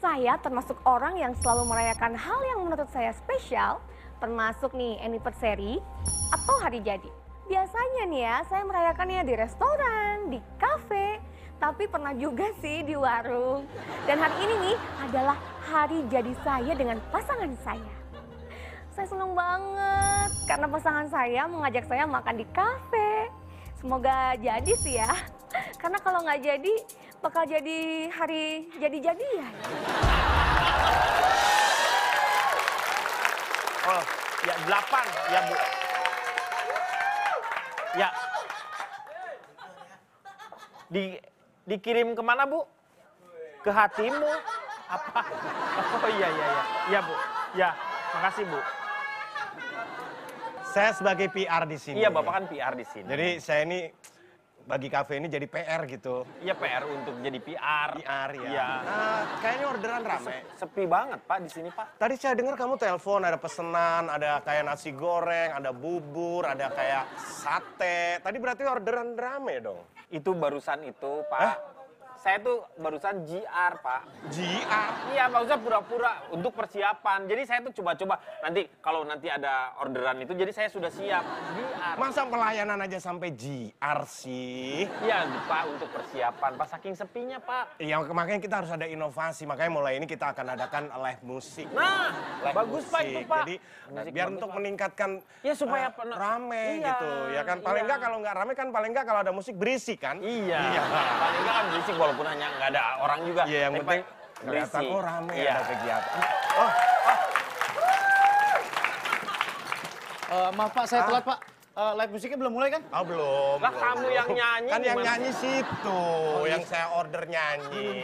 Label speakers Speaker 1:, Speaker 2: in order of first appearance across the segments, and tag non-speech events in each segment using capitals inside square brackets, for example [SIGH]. Speaker 1: saya termasuk orang yang selalu merayakan hal yang menurut saya spesial, termasuk nih anniversary atau hari jadi. Biasanya nih ya, saya merayakannya di restoran, di kafe, tapi pernah juga sih di warung. Dan hari ini nih adalah hari jadi saya dengan pasangan saya. Saya senang banget karena pasangan saya mengajak saya makan di kafe. Semoga jadi sih ya. [LAUGHS] Karena kalau nggak jadi, bakal jadi hari jadi-jadian.
Speaker 2: Oh, ya delapan ya bu. Ya. Di dikirim kemana bu? Ke hatimu? Apa? Oh iya iya iya. Iya bu. Ya, makasih bu.
Speaker 3: Saya sebagai PR di sini.
Speaker 2: Iya bapak kan PR di sini.
Speaker 3: Jadi saya ini bagi kafe ini jadi PR gitu.
Speaker 2: Iya PR untuk jadi PR.
Speaker 3: PR ya.
Speaker 2: Iya.
Speaker 3: Nah, kayaknya orderan rame.
Speaker 2: Se- Sepi banget pak di sini pak.
Speaker 3: Tadi saya dengar kamu telepon ada pesenan, ada kayak nasi goreng, ada bubur, ada kayak sate. Tadi berarti orderan rame dong.
Speaker 2: Itu barusan itu pak.
Speaker 3: Hah?
Speaker 2: Saya tuh barusan GR pak.
Speaker 3: GR.
Speaker 2: Iya, Pak Ustadz pura-pura untuk persiapan. Jadi saya tuh coba-coba nanti kalau nanti ada orderan itu, jadi saya sudah siap. Biar.
Speaker 3: Masa pelayanan aja sampai GR sih?
Speaker 2: Iya, Pak untuk persiapan. Pak saking sepinya Pak.
Speaker 3: Ya makanya kita harus ada inovasi, makanya mulai ini kita akan adakan live musik.
Speaker 2: Nah,
Speaker 3: Live
Speaker 2: bagus Pak itu
Speaker 3: musik.
Speaker 2: Pak.
Speaker 3: Jadi
Speaker 2: Musik
Speaker 3: biar
Speaker 2: bagus,
Speaker 3: untuk
Speaker 2: Pak.
Speaker 3: meningkatkan
Speaker 2: Ya, supaya
Speaker 3: eh,
Speaker 2: penuh-
Speaker 3: rame
Speaker 2: Iya,
Speaker 3: gitu ya kan. Paling
Speaker 2: iya.
Speaker 3: enggak kalau nggak rame kan paling enggak kalau ada musik berisi kan.
Speaker 2: Iya. Paling enggak kan berisik walaupun hanya nggak ada orang juga.
Speaker 3: Iya yang
Speaker 2: Tapi,
Speaker 3: penting
Speaker 2: Pak,
Speaker 3: kelihatan
Speaker 2: berisik.
Speaker 3: oh rame
Speaker 2: Iya. Oh,
Speaker 3: ada kegiatan.
Speaker 4: Eh, maaf pak, saya telat pak. Eh, live musiknya belum mulai kan?
Speaker 3: Oh belum.
Speaker 2: Lah,
Speaker 3: belum,
Speaker 2: kamu
Speaker 3: belum.
Speaker 2: yang nyanyi
Speaker 3: Kan yang
Speaker 2: gimana?
Speaker 3: nyanyi situ,
Speaker 4: Oh, iya.
Speaker 3: yang saya order nyanyi.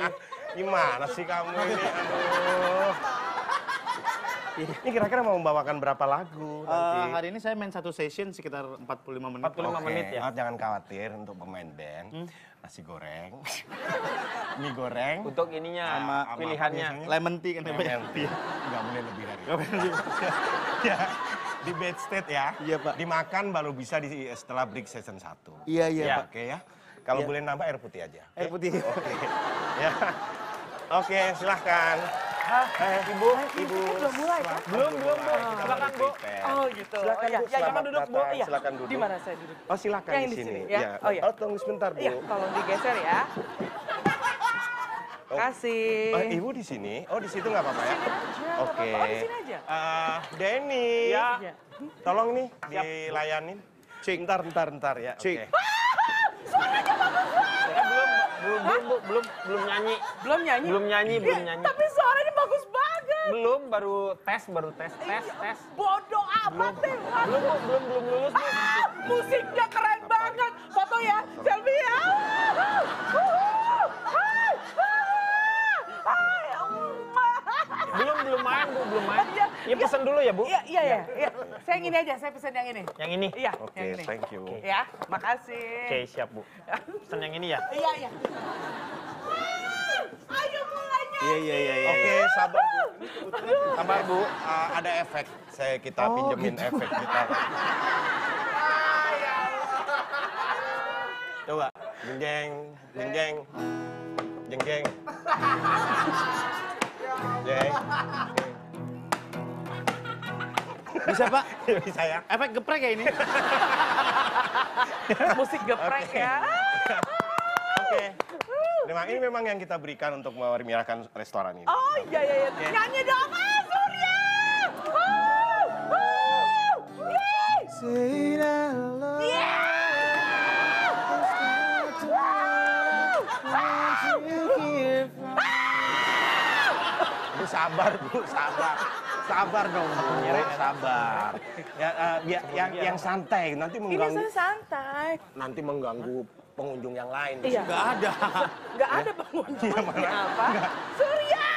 Speaker 3: Ah, gimana sih kamu ini? Aduh. Ini kira-kira mau membawakan berapa lagu
Speaker 4: Eh,
Speaker 3: nanti?
Speaker 4: hari ini saya main satu session sekitar 45 menit. Hmm?
Speaker 2: 45
Speaker 3: Oke,
Speaker 2: menit ya.
Speaker 3: ah, jangan khawatir untuk pemain band, nasi goreng, [LAUGHS] mie goreng,
Speaker 2: Untuk ininya,
Speaker 3: Sama- sama
Speaker 2: pilihannya.
Speaker 3: apa
Speaker 4: Lemon tea kan ya Pak?
Speaker 3: MLT. iya. Nggak boleh lebih dari itu. [LAUGHS] ya, di bed state ya.
Speaker 4: Iya, Pak.
Speaker 3: Dimakan baru bisa di setelah break session 1.
Speaker 4: Iya, iya
Speaker 2: Iya.
Speaker 4: pak.
Speaker 3: Oke ya. Kalau boleh nambah air putih aja.
Speaker 4: Air Eh, putih.
Speaker 3: Oke. ya. Oke, silahkan.
Speaker 2: Eh, Ibu,
Speaker 3: Ibu.
Speaker 1: belum mulai, kan?
Speaker 2: belum belum Bu.
Speaker 3: Kita
Speaker 2: Silakan
Speaker 3: baru
Speaker 2: Bu.
Speaker 3: prepare.
Speaker 5: Oh gitu.
Speaker 3: Silakan, Bu,
Speaker 5: oh, iya. Ya, jangan
Speaker 3: selamat
Speaker 5: duduk, Bu.
Speaker 3: datang.
Speaker 5: Iya.
Speaker 3: Silakan duduk.
Speaker 5: Di mana saya duduk?
Speaker 3: Oh, silakan
Speaker 5: Yang
Speaker 3: di
Speaker 5: di
Speaker 3: sini.
Speaker 5: sini, ya? Oh, iya.
Speaker 3: tunggu sebentar, Bu.
Speaker 5: Iya, tolong digeser ya.
Speaker 3: Oh.
Speaker 5: Kasih.
Speaker 3: Eh, ibu di sini. Oh, di situ nggak apa-apa ya?
Speaker 5: Sini aja, nggak
Speaker 3: Oke.
Speaker 5: apa-apa. Oh, di sini aja.
Speaker 3: Eh, Denny.
Speaker 2: Ya.
Speaker 5: Iya.
Speaker 3: Tolong nih dilayanin. Cik. Ntar, ntar, ntar ya. Oke.
Speaker 4: Cik.
Speaker 2: Eh, belum belum belum Bu. belum belum nyanyi.
Speaker 5: Belum nyanyi?
Speaker 2: Belum nyanyi,
Speaker 5: Iya,
Speaker 2: belum nyanyi.
Speaker 5: Tapi suaranya bagus banget.
Speaker 2: Belum baru tes, baru tes, tes,
Speaker 5: Iya,
Speaker 2: tes.
Speaker 5: Bodoh amat deh.
Speaker 2: Belum, Bu, belum, belum lulus, Bu.
Speaker 5: Ah, musiknya keren banget. Foto ya, selfie ya. Ah, ah, ah, ah, ah, ah.
Speaker 2: Belum, belum main, Bu, belum main.
Speaker 5: Iya,
Speaker 2: Iya, pesen dulu ya, Bu.
Speaker 5: Iya, iya, iya. iya. Saya yang ini aja, saya pesan yang ini.
Speaker 2: Yang ini.
Speaker 5: Iya,
Speaker 3: Oke,
Speaker 5: yang ini.
Speaker 3: thank you.
Speaker 5: Ya, makasih.
Speaker 2: Oke, siap, Bu. Pesen yang ini ya.
Speaker 5: Iya, iya. Ah, Ayo mulai
Speaker 4: Iya, iya, iya. iya.
Speaker 3: Oke, sabar Bu. Sabar Bu, Eh, ada efek. Saya kita
Speaker 5: Oh,
Speaker 3: pinjemin
Speaker 5: gitu.
Speaker 3: efek kita. Coba, jeng jeng, jeng jeng, jeng jeng. Jeng.
Speaker 4: Iya, Bisa [LAUGHS] pak?
Speaker 3: Bisa ya?
Speaker 4: Efek geprek ya ini?
Speaker 5: Musik geprek ya.
Speaker 3: Oke. Memang ini memang yang kita berikan untuk meriahkan restoran ini.
Speaker 5: Oh iya iya iya. Nyanyi dong ah, Surya. Ah, Wuh, wuh, yeay. Yeah. Wuh,
Speaker 3: Bu sabar Bu, sabar. Sabar dong Bu, sabar. Ya, eh, ya- yang, yang santai, nanti
Speaker 5: Ini
Speaker 3: mengganggu.
Speaker 5: Iya, saya santai.
Speaker 3: nanti mengganggu pengunjung yang lain.
Speaker 5: Iya.
Speaker 4: Gak ada.
Speaker 5: Gak ada pengunjung. Kenapa? Surya.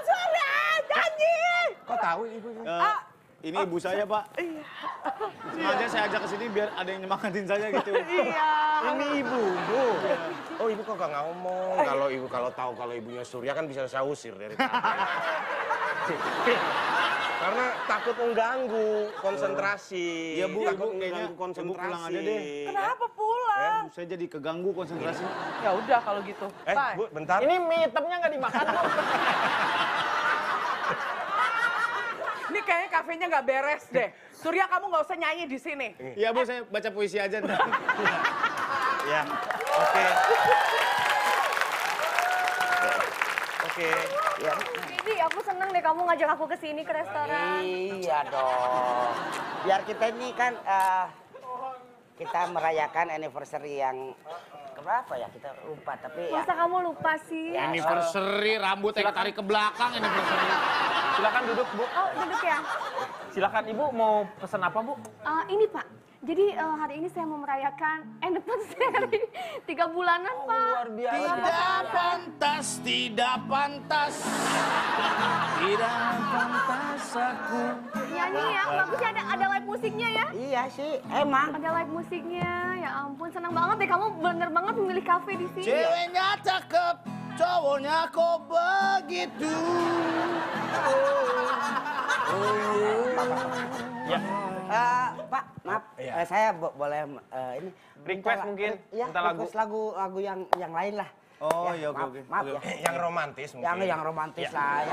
Speaker 5: Surya. Nyanyi.
Speaker 3: Kok tahu ibu?
Speaker 5: Iya.
Speaker 4: Eh, ini ibu saya pak. Sengaja saya ajak ke sini biar ada yang nyemangatin saya gitu.
Speaker 5: Iya.
Speaker 3: Ini ibu, bu. Oh ibu kok gak ngomong? Kalau ibu kalau tahu kalau ibunya Surya kan bisa saya usir dari tadi. Karena takut mengganggu konsentrasi.
Speaker 4: Iya, Bu,
Speaker 3: takut mengganggu
Speaker 4: Ibu, kayaknya Ibu
Speaker 3: konsentrasi.
Speaker 4: pulang aja deh.
Speaker 5: Kenapa pulang? doang.
Speaker 4: Saya jadi keganggu konsentrasi.
Speaker 5: Ya udah kalau gitu.
Speaker 3: Eh,
Speaker 5: Bye.
Speaker 3: Bu, bentar.
Speaker 2: Ini mie hitamnya nggak dimakan, Bu.
Speaker 5: Ini kayaknya kafenya nggak beres deh. Surya kamu nggak usah nyanyi di sini.
Speaker 4: Iya bu, saya baca puisi aja. nanti.
Speaker 3: Ya. Oke. Oke.
Speaker 1: Jadi aku senang deh kamu ngajak aku ke sini ke restoran.
Speaker 6: Iya dong. Biar kita ini kan eh, kita merayakan anniversary yang keberapa ya kita lupa tapi ya.
Speaker 1: Masa kamu lupa sih?
Speaker 6: Ya.
Speaker 7: Anniversary rambut yang tarik ke belakang anniversary.
Speaker 2: Silakan duduk, Bu.
Speaker 1: Oh, duduk ya.
Speaker 2: Silakan Ibu mau pesan apa, Bu?
Speaker 1: Eh, ini Pak, jadi eh, hari ini saya mau merayakan anniversary [LAUGHS] tiga bulanan Pak.
Speaker 7: Tidak pantas, tidak pantas. Tidak pantas aku.
Speaker 1: Nyanyi ya, bagus ya ada, ada live musiknya ya.
Speaker 6: Iya sih, emang.
Speaker 1: Ada live musiknya, ya ampun senang banget deh kamu bener banget memilih kafe di sini.
Speaker 7: Ceweknya cakep, cowoknya kok begitu.
Speaker 6: Eh, Pak, maaf. Eh, saya bo- boleh eh, ini
Speaker 2: Request
Speaker 6: la-
Speaker 2: mungkin,
Speaker 6: Iya,
Speaker 2: minta lagu.
Speaker 6: request lagu lagu yang yang lain lah.
Speaker 4: Oh, iya, oke,
Speaker 6: maaf,
Speaker 4: oke.
Speaker 6: Maaf ya.
Speaker 3: Yang romantis mungkin.
Speaker 6: Yang yang romantis lah ya.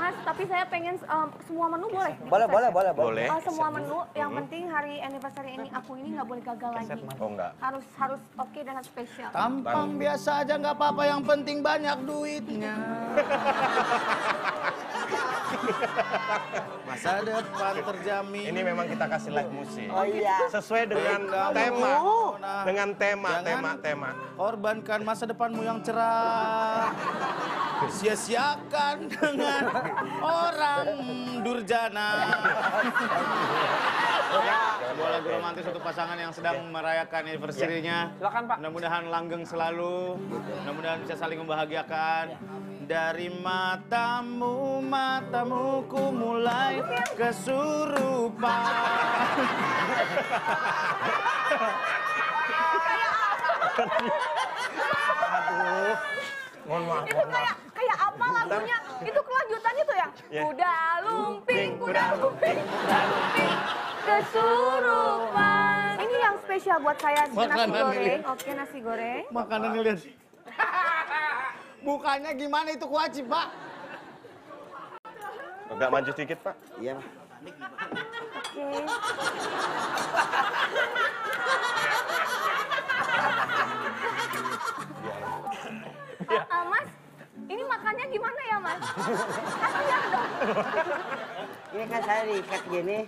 Speaker 1: Mas, tapi saya pengen em, semua menu boleh.
Speaker 6: Boleh, boleh, boleh, boleh. Mm-hmm.
Speaker 1: Eh, semua menu yang penting hari anniversary ini aku ini nggak boleh gagal lagi.
Speaker 3: Oh enggak.
Speaker 1: Harus harus oke dan harus spesial.
Speaker 7: Tampang biasa aja nggak apa-apa, yang penting banyak duitnya. Masa depan terjamin.
Speaker 3: Ini memang kita kasih live musik.
Speaker 6: Oh iya.
Speaker 3: Sesuai dengan
Speaker 7: Kamu
Speaker 3: tema.
Speaker 7: nah,
Speaker 3: Dengan tema,
Speaker 7: jangan
Speaker 3: tema, tema.
Speaker 7: Korbankan masa depanmu yang cerah. Sia-siakan dengan orang durjana.
Speaker 4: Dua lagu romantis untuk pasangan yang sedang merayakan anniversary-nya.
Speaker 2: Silakan, Pak.
Speaker 4: Mudah-mudahan langgeng selalu. Mudah-mudahan bisa saling membahagiakan. Dari matamu, matamu ku mulai kesurupan.
Speaker 3: Mohon maaf,
Speaker 1: Itu
Speaker 3: mohon
Speaker 1: kayak
Speaker 3: maaf.
Speaker 1: kayak apa lagunya? Itu kelanjutannya tuh yang kuda Ya. lumping, kuda lumping, kuda lumping kesurupan. Ini yang spesial buat saya nasi
Speaker 7: Makanan
Speaker 1: goreng.
Speaker 7: ini.
Speaker 1: Oke, nasi goreng.
Speaker 7: Makanan lihat. Bukannya gimana itu kuaci, Pak?
Speaker 3: Agak maju sedikit, Pak.
Speaker 6: Iya, Pak.
Speaker 1: Oke. Ah, ah, mas, ini makannya gimana ya, Mas? Kasih lihat dong.
Speaker 6: Ini kan saya diikat gini.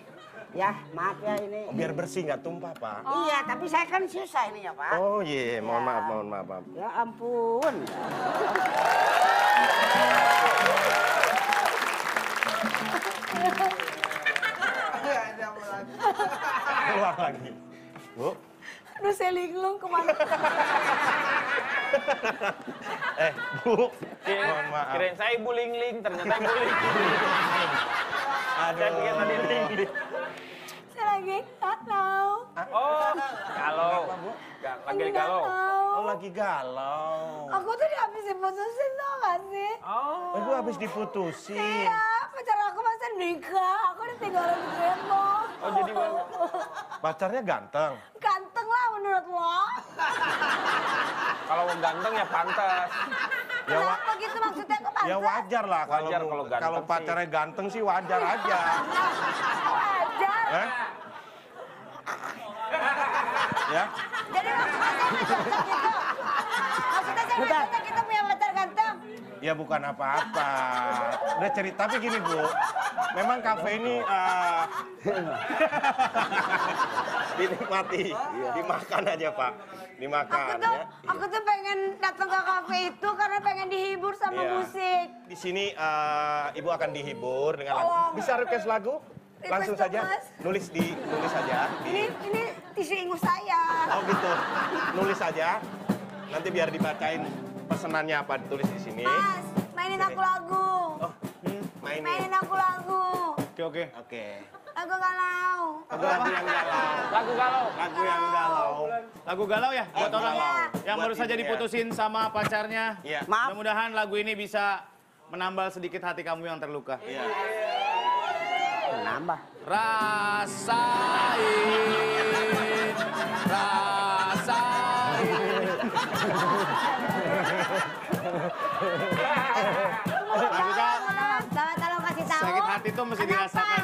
Speaker 6: Ya, maaf ya ini.
Speaker 3: Biar bersih nggak tumpah, Pak.
Speaker 6: Iya, tapi saya kan susah ini ya, Pak.
Speaker 3: Oh iya, mohon maaf, mohon maaf, maaf.
Speaker 6: Ya ampun.
Speaker 3: Keluar lagi. Bu,
Speaker 1: Aduh, saya linglung kemana.
Speaker 3: eh, Bu. Mohon maaf.
Speaker 2: Kirain saya Ibu Ling Ling, ternyata Ibu Ling Ling. Ada yang tadi Ling Ling.
Speaker 1: Saya lagi galau.
Speaker 2: Oh, galau. Ga- Lagi galau.
Speaker 3: Oh, lagi galau.
Speaker 1: Aku tuh dihabisin putusin tau gak sih?
Speaker 2: Oh,
Speaker 3: Ibu habis diputusin.
Speaker 1: Iya, pacar aku masa nikah. Aku ditinggalin grandma.
Speaker 2: oh jadi
Speaker 3: Pacarnya ganteng.
Speaker 1: Ganteng lah menurut lo.
Speaker 2: kalau ganteng ya pantas.
Speaker 3: Ya, wa-
Speaker 1: Kenapa gitu maksudnya aku pantas?
Speaker 3: ya wajar lah kalau
Speaker 2: Wajar kalau ganteng
Speaker 3: kalau
Speaker 2: sih.
Speaker 3: pacarnya ganteng sih wajar aja.
Speaker 1: Wajar.
Speaker 3: Eh? Ya,
Speaker 1: Jadi maksudnya saya nggak cocok gitu. Maksudnya saya nggak cocok gitu punya pacar ganteng.
Speaker 3: ya bukan apa-apa. Udah cerita tapi gini bu, memang kafe ini eh, [LAUGHS] dinikmati, Iya, dimakan aja pak, dimakan.
Speaker 8: aku tuh
Speaker 4: Iya.
Speaker 3: ya.
Speaker 8: aku tuh pengen datang ke kafe itu karena pengen dihibur sama
Speaker 3: Iya.
Speaker 8: musik.
Speaker 3: Di sini eh, ibu akan dihibur dengan lagu. Bisa request lagu? Langsung
Speaker 8: Oh, Request
Speaker 3: saja,
Speaker 8: dong, Mas.
Speaker 3: nulis di, nulis saja. Di,
Speaker 8: Ini ini tisu ingus saya.
Speaker 3: Oh gitu. Nulis aja. Nanti biar dibacain pesenannya apa ditulis di sini.
Speaker 8: Mas, mainin aku lagu.
Speaker 3: Oh, mainin.
Speaker 8: Mainin aku lagu.
Speaker 4: Oke, oke.
Speaker 3: Oke.
Speaker 8: Lagu galau.
Speaker 3: Lagu lagu yang galau.
Speaker 2: Lagu galau.
Speaker 3: Lagu yang galau.
Speaker 4: Lagu galau ya buat
Speaker 3: Lagu
Speaker 4: orang
Speaker 3: galau.
Speaker 4: yang
Speaker 3: Eh, Buat
Speaker 4: baru saja
Speaker 3: ibu ya.
Speaker 4: diputusin sama pacarnya.
Speaker 3: Iya.
Speaker 6: Maaf.
Speaker 4: Mudah-mudahan lagu ini bisa menambal sedikit hati kamu yang terluka.
Speaker 3: Iya.
Speaker 6: Nambah.
Speaker 7: Rasain, rasain.
Speaker 8: Jangan, Mas. Jangan, tolong kasih tahu.
Speaker 4: sakit hati tuh mesti
Speaker 8: Kenapa?
Speaker 4: dirasakan.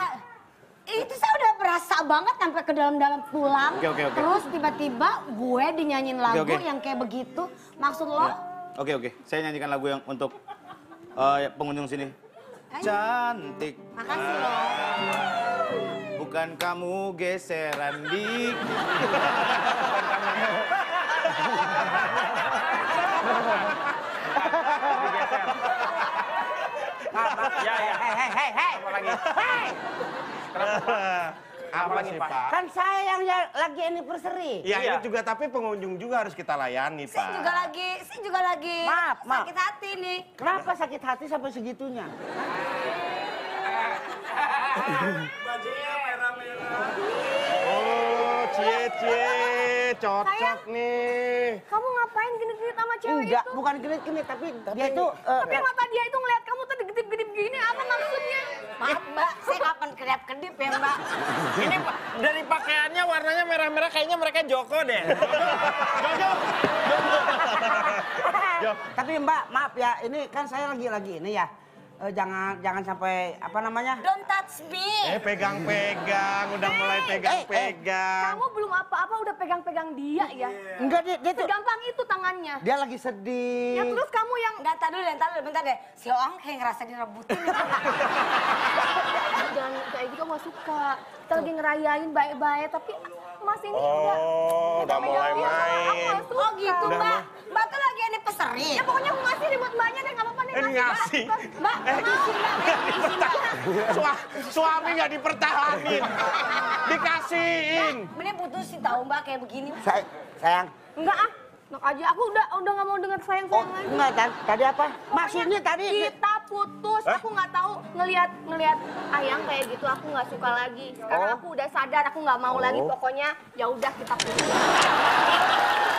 Speaker 8: Itu saya udah berasa banget sampai ke dalam-dalam pulang.
Speaker 4: Oke, oke, oke.
Speaker 8: Terus tiba-tiba gue dinyanyiin lagu
Speaker 4: Oke, oke.
Speaker 8: yang kayak begitu. Maksud
Speaker 4: Ya.
Speaker 8: lo?
Speaker 4: Oke oke, saya nyanyikan lagu yang untuk eh, pengunjung sini.
Speaker 8: Ayo.
Speaker 4: Cantik,
Speaker 8: Makasih lo.
Speaker 4: bukan kamu geseran di
Speaker 2: Ya, ya.
Speaker 6: Hei, hei, hei, hei.
Speaker 2: Apa lagi?
Speaker 6: Hei,
Speaker 3: Apa sih, Pak?
Speaker 6: kan saya yang ya- lagi anniversary.
Speaker 3: Ya,
Speaker 2: Iya.
Speaker 3: ini juga tapi pengunjung juga harus kita layani, Pak.
Speaker 8: Saya juga lagi, saya juga lagi
Speaker 6: Maaf, maaf.
Speaker 8: sakit hati nih.
Speaker 6: Kenapa sakit hati sampai segitunya?
Speaker 3: Oh, cie cie, cocok
Speaker 1: Sayang.
Speaker 3: nih.
Speaker 1: Kamu ngapain genit-genit sama cewek
Speaker 6: Enggak,
Speaker 1: itu?
Speaker 6: bukan genit-genit, tapi, dia itu... eh,
Speaker 1: Tapi mata dia itu ngeliat kamu tuh gedip-gedip gini, apa maksudnya?
Speaker 8: Maaf mbak, saya kapan kedap-kedip ya mbak?
Speaker 2: Ini pa- dari pakaiannya warnanya merah-merah kayaknya mereka Joko deh.
Speaker 6: Tapi Mbak, maaf ya, ini kan saya lagi-lagi ini ya. Eh, jangan jangan sampai apa namanya?
Speaker 8: Don't touch
Speaker 3: Eh,
Speaker 8: me.
Speaker 3: pegang-pegang, udah mulai pegang-pegang.
Speaker 1: Kamu belum apa-apa udah pegang-pegang dia ya?
Speaker 6: Enggak dia, dia tuh
Speaker 1: Segampang itu tangannya.
Speaker 6: dia
Speaker 1: Ya
Speaker 6: lagi sedih.
Speaker 1: terus kamu yang
Speaker 8: Enggak, tar dulu, deh, tar dulu, bentar deh. Si Oang kayak ngerasa [LAUGHS] direbutin.
Speaker 1: jangan kayak gitu nggak suka. Kita lagi ngerayain baik-baik, tapi mas ini udah
Speaker 3: Oh, udah mulai
Speaker 1: pegang-pegang sama
Speaker 3: main.
Speaker 1: Aku oh gitu
Speaker 8: Tuh mbak, Iya, mbak tuh lagi ini peseri.
Speaker 1: Ya pokoknya aku ngasih nih buat mbaknya deh, nggak apa-apa nih.
Speaker 3: Eh, ngasih. Eh,
Speaker 1: Mbak, mbak, makasih, mbak, makasih, mbak.
Speaker 3: Sua- suami nggak
Speaker 8: [LAUGHS]
Speaker 3: dipertahanin, dikasihin.
Speaker 8: Mending putusin tahu mbak kayak begini.
Speaker 6: Say- sayang.
Speaker 1: Enggak ah, enak aja. Aku udah udah nggak mau dengar
Speaker 6: Oh,
Speaker 1: sayang-sayangan.
Speaker 6: enggak tan- tadi apa? Maksudnya tadi
Speaker 1: kita putus
Speaker 3: Hah?
Speaker 1: aku nggak tahu ngelihat ngelihat ayang kayak gitu aku nggak suka lagi sekarang
Speaker 6: Oh.
Speaker 1: aku udah sadar aku nggak mau lagi
Speaker 6: Oh.
Speaker 1: pokoknya ya udah kita putus